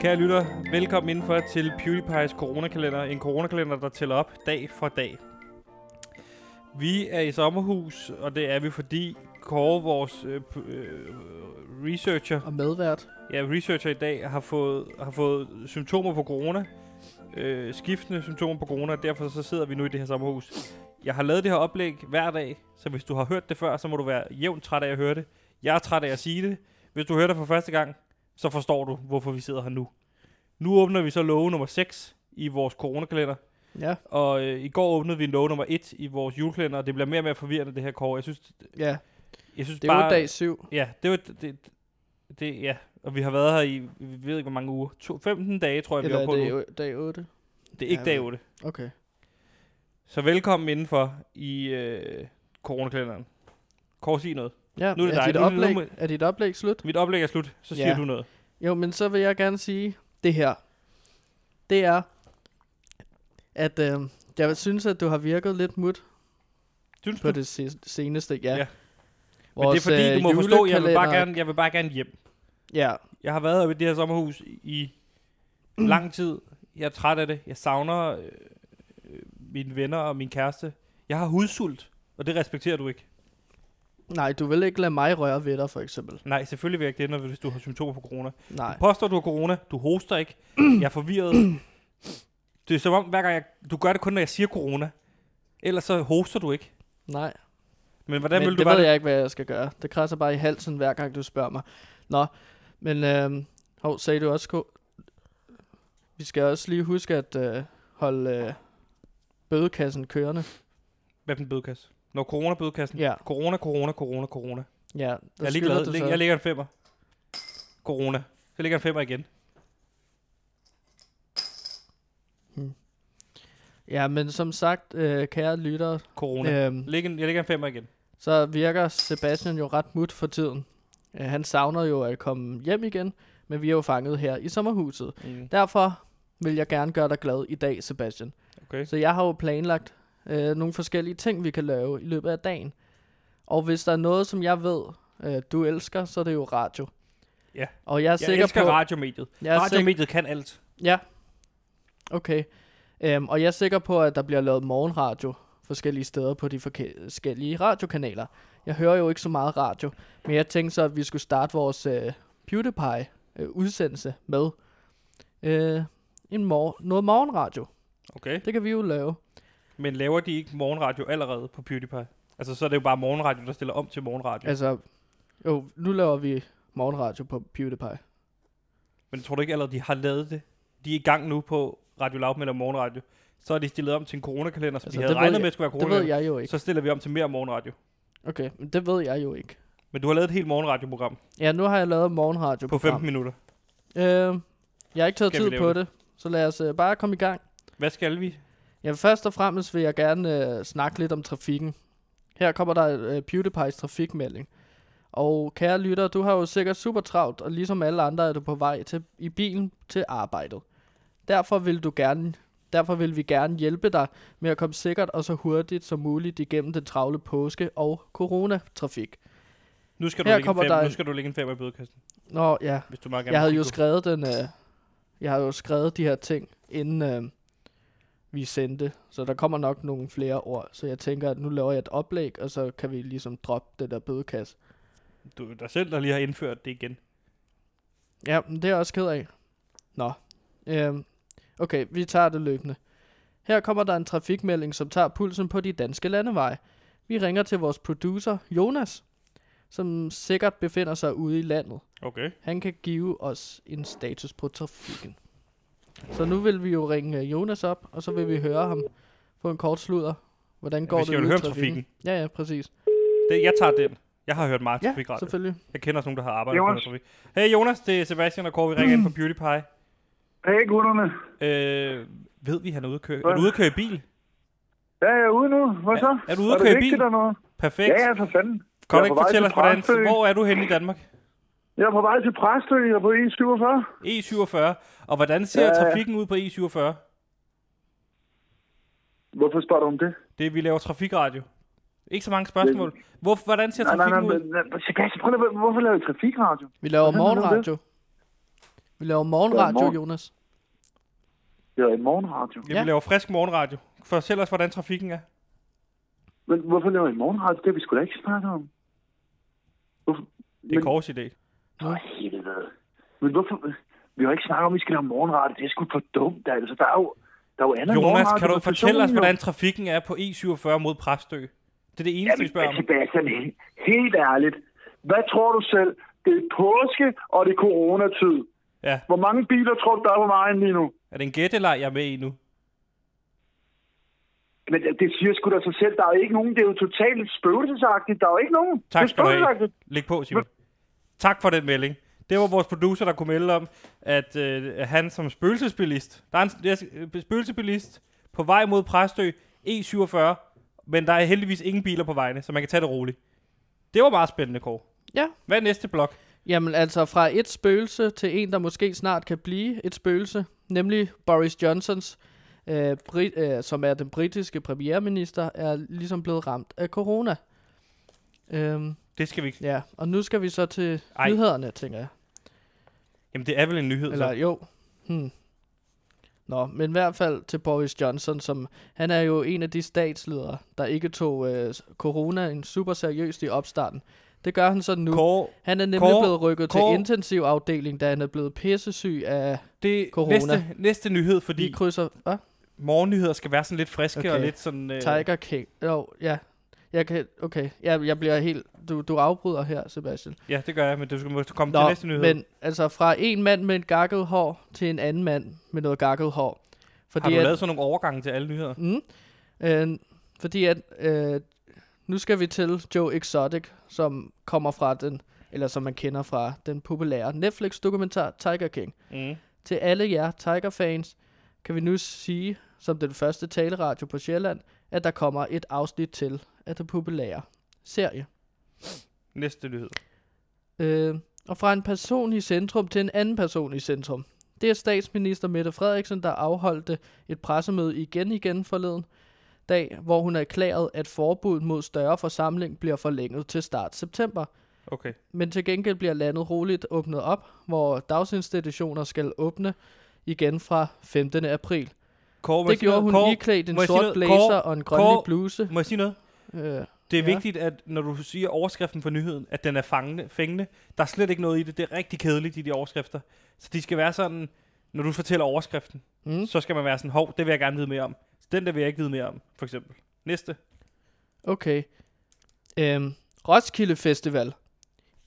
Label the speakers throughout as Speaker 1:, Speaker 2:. Speaker 1: Kære lytter, velkommen indenfor til PewDiePie's coronakalender. En coronakalender, der tæller op dag for dag. Vi er i sommerhus, og det er vi, fordi Kåre, vores øh, p- øh, researcher,
Speaker 2: Og medvært.
Speaker 1: ja, researcher i dag, har fået, har fået symptomer på corona. Øh, skiftende symptomer på corona, og derfor så sidder vi nu i det her sommerhus. Jeg har lavet det her oplæg hver dag, så hvis du har hørt det før, så må du være jævnt træt af at høre det. Jeg er træt af at sige det. Hvis du hører det for første gang, så forstår du, hvorfor vi sidder her nu. Nu åbner vi så love nummer 6 i vores coronakalender,
Speaker 2: Ja,
Speaker 1: og øh, i går åbnede vi love nummer 1 i vores julekalender, og det bliver mere og mere forvirrende, det her kår. Jeg synes,
Speaker 2: ja.
Speaker 1: jeg synes
Speaker 2: Det er
Speaker 1: bare...
Speaker 2: jo dag syv.
Speaker 1: Ja, det var det, det, ja. Og vi har været her i, vi ved ikke hvor mange uger. To, 15 dage, tror jeg, vi
Speaker 2: Eller
Speaker 1: var
Speaker 2: er
Speaker 1: på
Speaker 2: det
Speaker 1: nu.
Speaker 2: jo dag 8?
Speaker 1: Det er ikke
Speaker 2: Ja,
Speaker 1: dag
Speaker 2: men-
Speaker 1: 8.
Speaker 2: Okay.
Speaker 1: Så velkommen indenfor i øh, coronakalenderen. Kåre, sig noget.
Speaker 2: Ja,
Speaker 1: Nu er det dig.
Speaker 2: dit
Speaker 1: Nu- nu- nu
Speaker 2: oplæg,
Speaker 1: må-
Speaker 2: er dit oplæg slut?
Speaker 1: Mit oplæg er slut, så siger
Speaker 2: Ja.
Speaker 1: du noget.
Speaker 2: Jo, men så vil jeg gerne sige det her. Det er, at øh, jeg synes, at du har virket lidt mut
Speaker 1: Synes
Speaker 2: på
Speaker 1: du?
Speaker 2: det øh, se- seneste. Ja.
Speaker 1: Ja.
Speaker 2: ja.
Speaker 1: Men det er fordi, du må forstå, jeg vil, bare gerne, jeg vil bare gerne hjem.
Speaker 2: Ja,
Speaker 1: Jeg har været her ved det her sommerhus i lang tid. Jeg er træt af det. Jeg savner øh, øh, mine venner og min kæreste. Jeg har hudsult, og det respekterer du ikke.
Speaker 2: nej, du vil ikke lade mig røre ved dig, for eksempel.
Speaker 1: Nej, selvfølgelig vil jeg ikke det, når, hvis du har symptomer på corona.
Speaker 2: Nej.
Speaker 1: påstår, du har corona. Du hoster ikke. jeg er forvirret. Det er som om, hver gang jeg, du gør det kun, når jeg siger corona. Ellers så hoster du ikke.
Speaker 2: Nej.
Speaker 1: Men hvordan
Speaker 2: men
Speaker 1: vil du
Speaker 2: det
Speaker 1: være
Speaker 2: ved
Speaker 1: det?
Speaker 2: jeg ikke, hvad jeg skal gøre. Det krasser bare i halsen, hver gang du spørger mig. Nå, men øh, hov, sagde du også, Ko? Vi skal også lige huske at øh, holde øh, bødekassen kørende.
Speaker 1: Hvad for en bødekasse? Når corona-bødekassen.
Speaker 2: Ja,
Speaker 1: Corona, corona, corona, corona.
Speaker 2: ja. der
Speaker 1: Jeg,
Speaker 2: skylder
Speaker 1: ligger,
Speaker 2: du
Speaker 1: lig,
Speaker 2: så.
Speaker 1: jeg ligger en femmer. Corona. Så ligger en femmer igen.
Speaker 2: Ja, men som sagt, øh, kære lyttere,
Speaker 1: Corona. Ja.
Speaker 2: øh,
Speaker 1: Lig en, jeg ligger en femmer
Speaker 2: Mm.
Speaker 1: igen.
Speaker 2: så virker Sebastian jo ret mut for tiden. Øh, han savner jo at komme hjem igen, men vi er jo fanget her i sommerhuset.
Speaker 1: Mm.
Speaker 2: Derfor vil jeg gerne gøre dig glad i dag, Sebastian.
Speaker 1: Okay.
Speaker 2: Så jeg har jo planlagt øh, nogle forskellige ting, vi kan lave i løbet af dagen. Og hvis der er noget, som jeg ved, øh, du elsker, så er det jo radio.
Speaker 1: Ja.
Speaker 2: Og jeg
Speaker 1: Jeg,
Speaker 2: er
Speaker 1: jeg
Speaker 2: sikker
Speaker 1: elsker
Speaker 2: på...
Speaker 1: radiomediet.
Speaker 2: jeg er sikker,
Speaker 1: Radiomediet kan alt.
Speaker 2: ja. Okay. Øhm, og jeg er sikker på, at der bliver lavet morgenradio forskellige steder på de forke- forskellige radiokanaler. Jeg hører jo ikke så meget radio, men jeg tænkte så, at vi skulle starte vores øh, PewDiePie-udsendelse med øh, en mor- noget morgenradio.
Speaker 1: Okay.
Speaker 2: Det kan vi jo lave.
Speaker 1: Men laver de ikke morgenradio allerede på PewDiePie? Altså, så er det jo bare morgenradio, der stiller om til morgenradio.
Speaker 2: Altså, jo, nu laver vi morgenradio på PewDiePie.
Speaker 1: Men tror du ikke allerede, de har lavet det? De er i gang nu på Radio Loud med morgenradio. Så er de stillet om til en coronakalender, som altså, de havde
Speaker 2: Altså, det ved
Speaker 1: regnet
Speaker 2: jeg-
Speaker 1: med, skulle være
Speaker 2: Det ved
Speaker 1: coronakalender.
Speaker 2: jeg jo ikke.
Speaker 1: Så stiller vi om til mere morgenradio.
Speaker 2: Okay, men det ved jeg jo ikke.
Speaker 1: Men du har lavet et helt morgenradioprogram
Speaker 2: Ja, nu har jeg lavet morgenradio
Speaker 1: på 15 minutter.
Speaker 2: Øh, jeg har ikke taget
Speaker 1: Skal vi
Speaker 2: tid
Speaker 1: lave
Speaker 2: på det, så lad os øh, bare komme i gang.
Speaker 1: Hvad skal vi?
Speaker 2: Ja, først og fremmest vil jeg gerne øh, snakke lidt om trafikken. Her kommer der øh, PewDiePie's trafikmelding. Og kære lytter, du har jo sikkert super travlt, og ligesom alle andre er du på vej til, i bilen til arbejdet. Derfor vil, du gerne, derfor vil vi gerne hjælpe dig med at komme sikkert og så hurtigt som muligt igennem den travle påske og coronatrafik.
Speaker 1: Nu skal du,
Speaker 2: Her
Speaker 1: lægge en,
Speaker 2: kommer
Speaker 1: fem,
Speaker 2: der-
Speaker 1: nu skal du lægge en fem i bødekassen,
Speaker 2: Nå ja,
Speaker 1: hvis du meget gerne
Speaker 2: jeg havde
Speaker 1: vil
Speaker 2: jo
Speaker 1: kigge
Speaker 2: skrevet den, øh, jeg havde jo skrevet de her ting, inden øh, vi sendte, så der kommer nok nogle flere ord. Så jeg tænker, at nu laver jeg et oplæg, og så kan vi ligesom droppe det der bødekasse.
Speaker 1: på. Du er dig selv, der lige har indført det igen.
Speaker 2: Ja, men det er jeg også ked af. Nå, øh, okay, vi tager det løbende. Her kommer der en trafikmelding, som tager pulsen på de danske landeveje. Vi ringer til vores producer, Jonas, som sikkert befinder sig ude i landet.
Speaker 1: Okay.
Speaker 2: Han kan give os en status på trafikken. Så nu vil vi jo ringe øh, Jonas op, og så vil vi høre ham få en kort sludder. Hvordan går
Speaker 1: vi
Speaker 2: det
Speaker 1: skal jo
Speaker 2: ude i
Speaker 1: høre om
Speaker 2: trafikken? Ja, ja, præcis.
Speaker 1: Det, jeg tager den. Jeg har hørt meget
Speaker 2: Ja,
Speaker 1: trafikradio.
Speaker 2: selvfølgelig.
Speaker 1: Jeg kender også nogen, der har arbejdet
Speaker 3: Jonas.
Speaker 1: på noget trafik. Hey Jonas, det er Sebastian og Kåre, vi ringer ind på PewDiePie.
Speaker 3: Hey gutterne.
Speaker 1: Øh, ved vi, han er ude at køre,
Speaker 3: Hvad?
Speaker 1: er du ude at køre i bil?
Speaker 3: Ja, jeg er ude nu. Hvad så?
Speaker 1: Er du ude at
Speaker 3: det
Speaker 1: køre i
Speaker 3: vigtigt
Speaker 1: bil?
Speaker 3: eller noget?
Speaker 1: Perfekt.
Speaker 3: Ja, ja, for fanden.
Speaker 1: Kan
Speaker 3: Jeg
Speaker 1: du
Speaker 3: er på
Speaker 1: ikke
Speaker 3: vej
Speaker 1: fortælle
Speaker 3: til
Speaker 1: os, hvordan,
Speaker 3: Præstø.
Speaker 1: hvor er du henne i Danmark?
Speaker 3: Jeg er på vej til Præstø. Jeg er på E47.
Speaker 1: E47. Og hvordan ser
Speaker 3: Ja, ja.
Speaker 1: trafikken ud på E47?
Speaker 3: Hvorfor spørger du om det?
Speaker 1: Det er, vi laver trafikradio. Ikke så mange spørgsmål. Hvor, hvordan ser
Speaker 3: Nej, nej, nej.
Speaker 1: trafikken ud?
Speaker 3: men- nej, Sebastian, prøv lige at- Hvorfor laver I trafikradio?
Speaker 2: Vi laver
Speaker 3: Hvordan er det?
Speaker 2: morgenradio. Vi laver morgenradio,
Speaker 3: Godmorgen.
Speaker 2: Jonas.
Speaker 3: Det er en morgenradio.
Speaker 1: Ja,
Speaker 2: Ja.
Speaker 1: vi laver frisk morgenradio. Fortæl os, hvordan trafikken er.
Speaker 3: Men hvorfor laver I morgenradio? Det har vi sgu da ikke snakket om. Hvorfor?
Speaker 1: Det er
Speaker 3: Men-
Speaker 1: Kors idé.
Speaker 3: Nå, helvede. Men hvorfor... Vi har ikke snakket om, at vi skal lave morgenradio. Det er sgu for dumt, altså. Der er jo, der er jo andet
Speaker 1: Jonas,
Speaker 3: morgenradio
Speaker 1: kan du
Speaker 3: på
Speaker 1: fortælle os,
Speaker 3: stationen, jo.
Speaker 1: hvordan trafikken er på E47 mod Præstø? Det er det eneste, vi
Speaker 3: Jamen,
Speaker 1: spørger om.
Speaker 3: Sebastian, he- helt ærligt. Hvad tror du selv? Det er påske, og det er coronatid.
Speaker 1: Ja.
Speaker 3: Hvor mange biler tror du, der er på vejen lige nu?
Speaker 1: Er det en gætteleg, jeg er med i nu?
Speaker 3: Men det- det siger sgu da sig selv. Der er jo ikke nogen. Det er jo totalt spøgelsesagtigt. Der er jo ikke nogen. Det
Speaker 1: Tak
Speaker 3: er
Speaker 1: skal du have.
Speaker 3: spøgelsesagtigt.
Speaker 1: Læg på, Simon. Tak for den melding. Det var vores producer, der kunne melde om, at øh, han som spøgelsesbilist, der er en der er en spøgelsesbilist på vej mod Præstø, E47, men der er heldigvis ingen biler på vejene, så man kan tage det roligt. Det var meget spændende, Kåre.
Speaker 2: Ja.
Speaker 1: Hvad er næste blok?
Speaker 2: Jamen altså fra et spøgelse til en, der måske snart kan blive et spøgelse, nemlig Boris Johnsons, øh, Brit, øh, som er den britiske premierminister, er ligesom blevet ramt af corona. Øhm,
Speaker 1: Det skal vi ikke.
Speaker 2: ja, og nu skal vi så til
Speaker 1: Ej.
Speaker 2: Ej. nyhederne, tænker jeg.
Speaker 1: Jamen, det er vel en nyhed,
Speaker 2: Eller
Speaker 1: så.
Speaker 2: jo. Hmm. Nå, men i hvert fald til Boris Johnson, som han er jo en af de statsledere, der ikke tog øh, corona en super seriøst i opstarten. Det gør han så nu.
Speaker 1: Kåre,
Speaker 2: Han er nemlig
Speaker 1: Kåre,
Speaker 2: blevet rykket
Speaker 1: Kåre.
Speaker 2: til intensivafdeling, da han er blevet pissesyg af...
Speaker 1: det
Speaker 2: Corona.
Speaker 1: næste, næste nyhed, fordi
Speaker 2: Vi krydser... Hvad?
Speaker 1: morgennyheder skal være sådan lidt friske
Speaker 2: Okay.
Speaker 1: og lidt sådan... Øh,
Speaker 2: Tiger King. Jo, ja. Jeg kan... Okay. Jeg, jeg bliver helt... Du, du afbryder her, Sebastian.
Speaker 1: ja, det gør jeg, men du skal måske komme til næste nyhed.
Speaker 2: men altså fra en mand med et gakket hår til en anden mand med noget gakket hår. Fordi
Speaker 1: Har du
Speaker 2: at,
Speaker 1: lavet sådan nogle overgange til alle nyheder?
Speaker 2: Mm, øh, fordi at... Øh, nu skal vi til Joe Exotic, som kommer fra den... Eller som man kender fra den populære Netflix-dokumentar Tiger King.
Speaker 1: Mm.
Speaker 2: Til alle jer Tiger-fans kan vi nu sige, som den første taleradio på Sjælland, at der kommer et afsnit til af den populære serie.
Speaker 1: Næste nyhed.
Speaker 2: Øh, og fra en person i centrum til en anden person i centrum. Det er statsminister Mette Frederiksen, der afholdte et pressemøde igen igen forleden dag, hvor hun erklærede, at forbuddet mod større forsamling bliver forlænget til start september.
Speaker 1: Okay.
Speaker 2: Men til gengæld bliver landet roligt åbnet op, hvor dagsinstitutioner skal åbne igen fra 15. april.
Speaker 1: Kåre, må jeg
Speaker 2: Det
Speaker 1: sige
Speaker 2: gjorde
Speaker 1: noget?
Speaker 2: hun
Speaker 1: Kåre,
Speaker 2: iklædt en
Speaker 1: må jeg sige
Speaker 2: sort
Speaker 1: noget?
Speaker 2: blazer
Speaker 1: Kåre,
Speaker 2: og en grønlig
Speaker 1: Kåre-
Speaker 2: bluse.
Speaker 1: Må jeg sige noget?
Speaker 2: Øh,
Speaker 1: Det er
Speaker 2: Ja.
Speaker 1: ja. vigtigt, at når du siger overskriften for nyheden, at den er fangende, fængende. Der er slet ikke noget i det. Det er rigtig kedeligt, i de overskrifter. Så de skal være sådan, når du fortæller overskriften,
Speaker 2: Mm.
Speaker 1: mm. så skal man være sådan, hov, det vil jeg gerne vide mere om. Den der vil jeg ikke vide mere om, for eksempel. Næste.
Speaker 2: okay. Øhm, Roskilde Festival.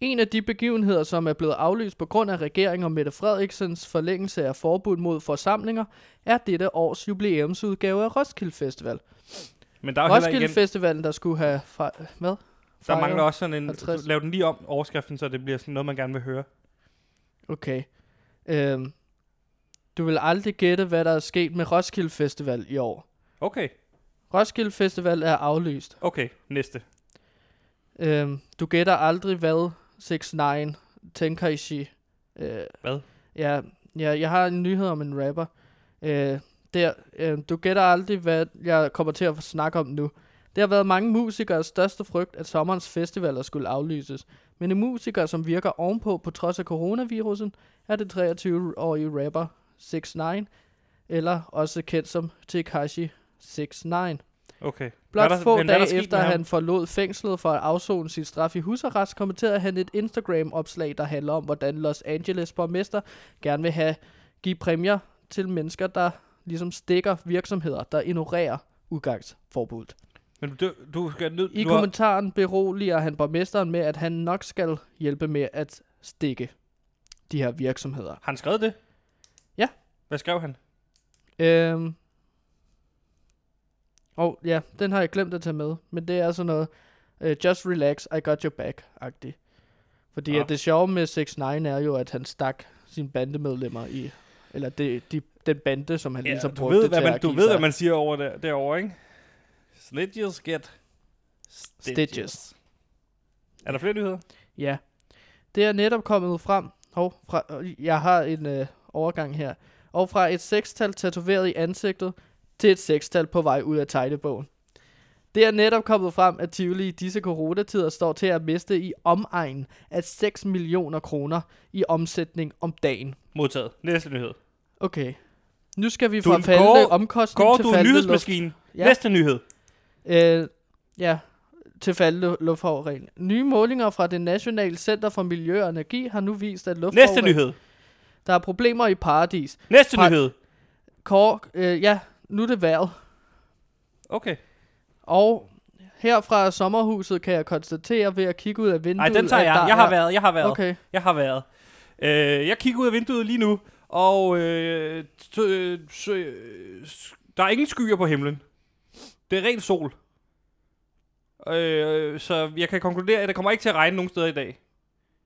Speaker 2: En af de begivenheder, som er blevet aflyst på grund af regeringen og Mette Frederiksens forlængelse af forbud mod forsamlinger, er dette års jubilæumsudgave af Roskilde Festival.
Speaker 1: Men der er jo heller
Speaker 2: Roskilde
Speaker 1: igen,
Speaker 2: Festivalen, der skulle have... Fra- hvad?
Speaker 1: der
Speaker 2: Fejret?
Speaker 1: mangler også sådan en,
Speaker 2: 50.
Speaker 1: lav den lige om overskriften, så det bliver sådan noget, man gerne vil høre.
Speaker 2: Okay. Øhm, du vil aldrig gætte, hvad der er sket med Roskilde Festival i år.
Speaker 1: Okay,
Speaker 2: Roskilde Festival er aflyst.
Speaker 1: okay, næste.
Speaker 2: Øhm, du gætter aldrig, hvad 6 9 tænker i øh,
Speaker 1: Hvad?
Speaker 2: Ja, ja, jeg har en nyhed om en rapper. Øh, der, øh, du gætter aldrig, hvad jeg kommer til at snakke om nu. Det har været mange musikers største frygt, at sommerens festivaler skulle aflyses. Men en musiker, som virker ovenpå på trods af coronavirusen, er det 23-årige rapper 6 9 eller også kendt som Tekashi 6 9
Speaker 1: Okay. Hvad
Speaker 2: Blot
Speaker 1: er der-
Speaker 2: få
Speaker 1: men hvad er der
Speaker 2: dage
Speaker 1: sket
Speaker 2: efter,
Speaker 1: med
Speaker 2: at
Speaker 1: ham?
Speaker 2: han forlod fængslet for at afzone sin straf i husarrest, kommenterede han et Instagram-opslag, der handler om, hvordan Los Angeles borgmester gerne vil have give præmier til mennesker, der ligesom stikker virksomheder, der ignorerer udgangsforbuddet.
Speaker 1: Men du, du skal ned...
Speaker 2: I
Speaker 1: du har-
Speaker 2: kommentaren beroliger han borgmesteren med, at han nok skal hjælpe med at stikke de her virksomheder.
Speaker 1: Har han skrevet det?
Speaker 2: Ja.
Speaker 1: Hvad skrev han?
Speaker 2: Øhm. Og ja, den har jeg glemt at tage med, men det er sådan noget, uh, just relax, I got your back-agtigt. Fordi
Speaker 1: Nå.
Speaker 2: at det sjove med 6 9 er jo, at han stak sine bandemedlemmer i, eller det, de, den bande, som han ja, ligesom
Speaker 1: du
Speaker 2: brugte
Speaker 1: ved,
Speaker 2: til
Speaker 1: hvad man,
Speaker 2: at
Speaker 1: du
Speaker 2: give
Speaker 1: ved,
Speaker 2: sig
Speaker 1: hvad man siger over der, derovre, ikke? Snitches get stitches.
Speaker 2: Stitches.
Speaker 1: Er der flere nyheder?
Speaker 2: Ja. Det er netop kommet frem. Hov, fra, øh, jeg har en øh, overgang her. Og fra et sekstal tatoveret i ansigtet til et sekstal på vej ud af tegnebogen. Det er netop kommet frem, at Tivoli i disse coronatider står til at miste i omegnen af 6 millioner kroner i omsætning om dagen.
Speaker 1: Modtaget. Næste nyhed.
Speaker 2: Okay. Nu skal vi
Speaker 1: Du
Speaker 2: fra
Speaker 1: er en
Speaker 2: faldende
Speaker 1: gård-
Speaker 2: omkostning
Speaker 1: Går
Speaker 2: til
Speaker 1: du er en
Speaker 2: faldende
Speaker 1: nyhedsmaskine?
Speaker 2: Ja.
Speaker 1: Ja. Næste nyhed.
Speaker 2: Øh, ja, til faldende luftforurening. Nye målinger fra det Nationale Center for Miljø og Energi har nu vist, at
Speaker 1: Næste
Speaker 2: luftforurening...
Speaker 1: nyhed.
Speaker 2: Der er problemer i paradis.
Speaker 1: Næste
Speaker 2: Par-
Speaker 1: nyhed.
Speaker 2: Kork, øh, ja, nu er det vejret.
Speaker 1: Okay.
Speaker 2: Og her fra sommerhuset kan jeg konstatere ved at kigge ud af vinduet...
Speaker 1: Nej, den tager
Speaker 2: at
Speaker 1: jeg.
Speaker 2: der
Speaker 1: Jeg har
Speaker 2: er-
Speaker 1: været, jeg har været.
Speaker 2: Okay,
Speaker 1: Jeg har været. Øh, jeg kigger ud af vinduet lige nu, og øh, t- øh, s- øh, s- der er ingen skyer på himlen. Det er ren sol. Øh, så jeg kan konkludere, at det kommer ikke til at regne nogen steder i dag.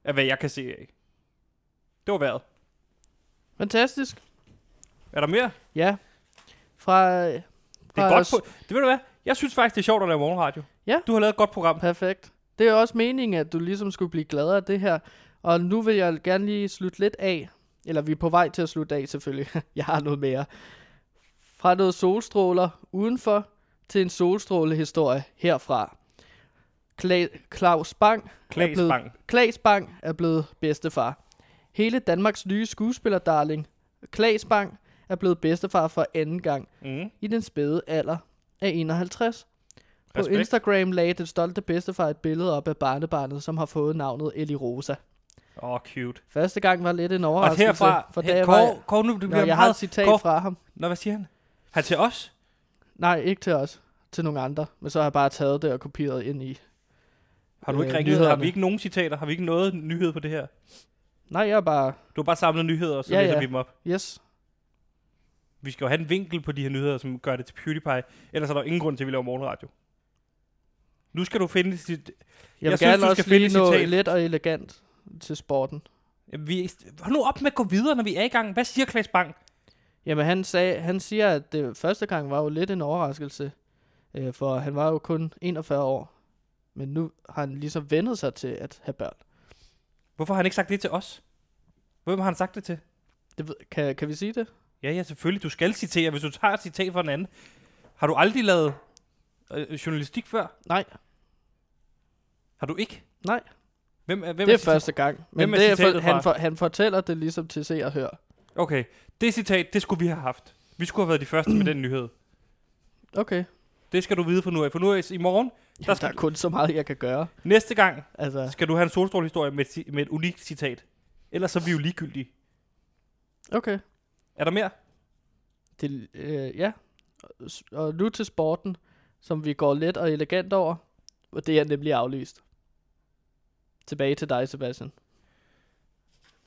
Speaker 1: Af hvad jeg kan se af. Det var vejret.
Speaker 2: fantastisk.
Speaker 1: Er der mere?
Speaker 2: Ja. Fra... Det
Speaker 1: Det er godt på, det ved du hvad? Jeg synes faktisk, det er sjovt at lave morgenradio.
Speaker 2: Ja.
Speaker 1: Du har lavet et godt program.
Speaker 2: Perfekt. Det er også meningen, at du ligesom skulle blive gladere af det her. Og nu vil jeg gerne lige slutte lidt af. Eller vi er på vej til at slutte af selvfølgelig. jeg har noget mere. Fra noget solstråler udenfor til en solstrålehistorie herfra. Kla- Claus Bang
Speaker 1: Klaas
Speaker 2: blevet-
Speaker 1: Bang.
Speaker 2: Klaas Bang er blevet bedstefar. Hele Danmarks nye skuespillerdarling, Klaas Bang, er blevet bedstefar for anden gang
Speaker 1: Mm.
Speaker 2: i den spæde alder af 51. På
Speaker 1: Respekt.
Speaker 2: Instagram lagde den stolte bedstefar et billede op af barnebarnet, som har fået navnet Eli Rosa.
Speaker 1: Åh, oh, cute.
Speaker 2: Første gang var lidt en
Speaker 1: Og
Speaker 2: overraskelse,
Speaker 1: herfra,
Speaker 2: for da
Speaker 1: her,
Speaker 2: jeg, var,
Speaker 1: Kåre, Kåre, nu, det
Speaker 2: Nå,
Speaker 1: bliver
Speaker 2: jeg har
Speaker 1: meget,
Speaker 2: et citat
Speaker 1: Kåre-
Speaker 2: fra ham.
Speaker 1: Nå, hvad siger han? Han til os?
Speaker 2: Nej, ikke til os, til nogle andre, men så har jeg bare taget det og kopieret ind i.
Speaker 1: Har du ikke
Speaker 2: Øh,
Speaker 1: ringet? Har
Speaker 2: nyhederne.
Speaker 1: vi ikke nogen citater? Har vi ikke noget nyhed på det her?
Speaker 2: Nej, jeg er bare,
Speaker 1: Du har bare samlet nyheder, og så
Speaker 2: Ja,
Speaker 1: ja, læser
Speaker 2: ja.
Speaker 1: ja. vi dem op.
Speaker 2: yes,
Speaker 1: Vi skal jo have en vinkel på de her nyheder, som gør det til PewDiePie. Ellers er der jo ingen grund til, at vi laver morgenradio. Nu skal du finde sit...
Speaker 2: jeg vil
Speaker 1: Jeg synes,
Speaker 2: gerne
Speaker 1: du skal
Speaker 2: også
Speaker 1: finde
Speaker 2: lige
Speaker 1: et
Speaker 2: nå
Speaker 1: citat.
Speaker 2: let og elegant til sporten.
Speaker 1: Jamen, Vi... Hold nu op med at gå videre, når vi er i gang. Hvad siger Klaas Bang?
Speaker 2: Jamen han, sagde, han siger, at det første gang var jo lidt en overraskelse, øh, for han var jo kun 41 år. Men nu har han ligesom vendet sig til at have børn.
Speaker 1: Hvorfor har han ikke sagt det til os? Hvem har han sagt det til?
Speaker 2: Det ved, kan, kan vi sige det?
Speaker 1: Ja, ja, selvfølgelig. Du skal citere, hvis du tager et citat fra en anden. Har du aldrig lavet øh, journalistik før?
Speaker 2: Nej,
Speaker 1: Har du ikke?
Speaker 2: nej.
Speaker 1: Hvem er, hvem
Speaker 2: Det er
Speaker 1: cita-
Speaker 2: første gang. Men
Speaker 1: Hvem er
Speaker 2: det er for,
Speaker 1: citatet fra?
Speaker 2: han, for, han fortæller det ligesom til se og hør.
Speaker 1: Okay, det citat, det skulle vi have haft. Vi skulle have været de første med den nyhed.
Speaker 2: Okay.
Speaker 1: Det skal du vide for nu af. For nu af, i morgen,
Speaker 2: Jamen, der
Speaker 1: skal
Speaker 2: er kun så meget, jeg kan gøre.
Speaker 1: næste gang,
Speaker 2: Altså,
Speaker 1: skal du have en solstrålehistorie med, et ci- med et unikt citat. Ellers så er vi jo ligegyldige.
Speaker 2: okay.
Speaker 1: Er der mere?
Speaker 2: Det, øh, ja. Og s- Og nu til sporten, som vi går let og elegant over. Og det er nemlig aflyst. Tilbage til dig, Sebastian.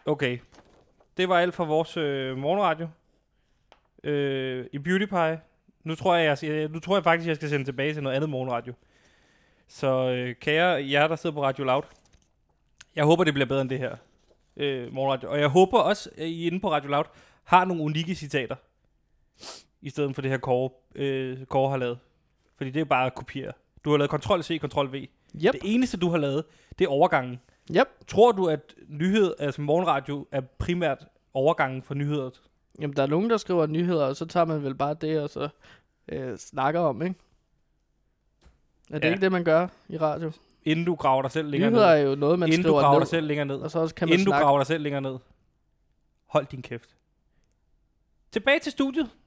Speaker 1: Okay. Det var alt for vores øh, morgenradio. Øh, I Beauty Pie. Nu tror, jeg, jeg, skal- nu tror jeg faktisk, jeg skal sende tilbage til noget andet morgenradio. Så øh, kære jer, der sidder på Radio Loud. Jeg håber, det bliver bedre end det her øh, morgenradio. Og jeg håber også, at I inde på Radio Loud har nogle unikke citater. I stedet for det her Kåre, øh, Kåre har lavet. Fordi det er bare at kopiere. Du har lavet Ctrl-C, Ctrl-V.
Speaker 2: Yep,
Speaker 1: Det eneste, du har lavet, det er overgangen.
Speaker 2: yep.
Speaker 1: Tror du, at nyhed, altså morgenradio, er primært overgangen for nyheder?
Speaker 2: Jamen, der er nogen, der skriver nyheder, og så tager man vel bare det, og så øh, snakker om, ikke? Er det
Speaker 1: Ja.
Speaker 2: ikke det, man gør i radio?
Speaker 1: Inden du graver dig selv længere
Speaker 2: Nyheder er
Speaker 1: ned.
Speaker 2: jo noget, man
Speaker 1: inden du
Speaker 2: skriver
Speaker 1: graver
Speaker 2: ned,
Speaker 1: dig selv længere ned.
Speaker 2: og så også kan man
Speaker 1: Inden du
Speaker 2: snakke.
Speaker 1: graver dig selv længere ned. Hold din kæft. Tilbage til studiet.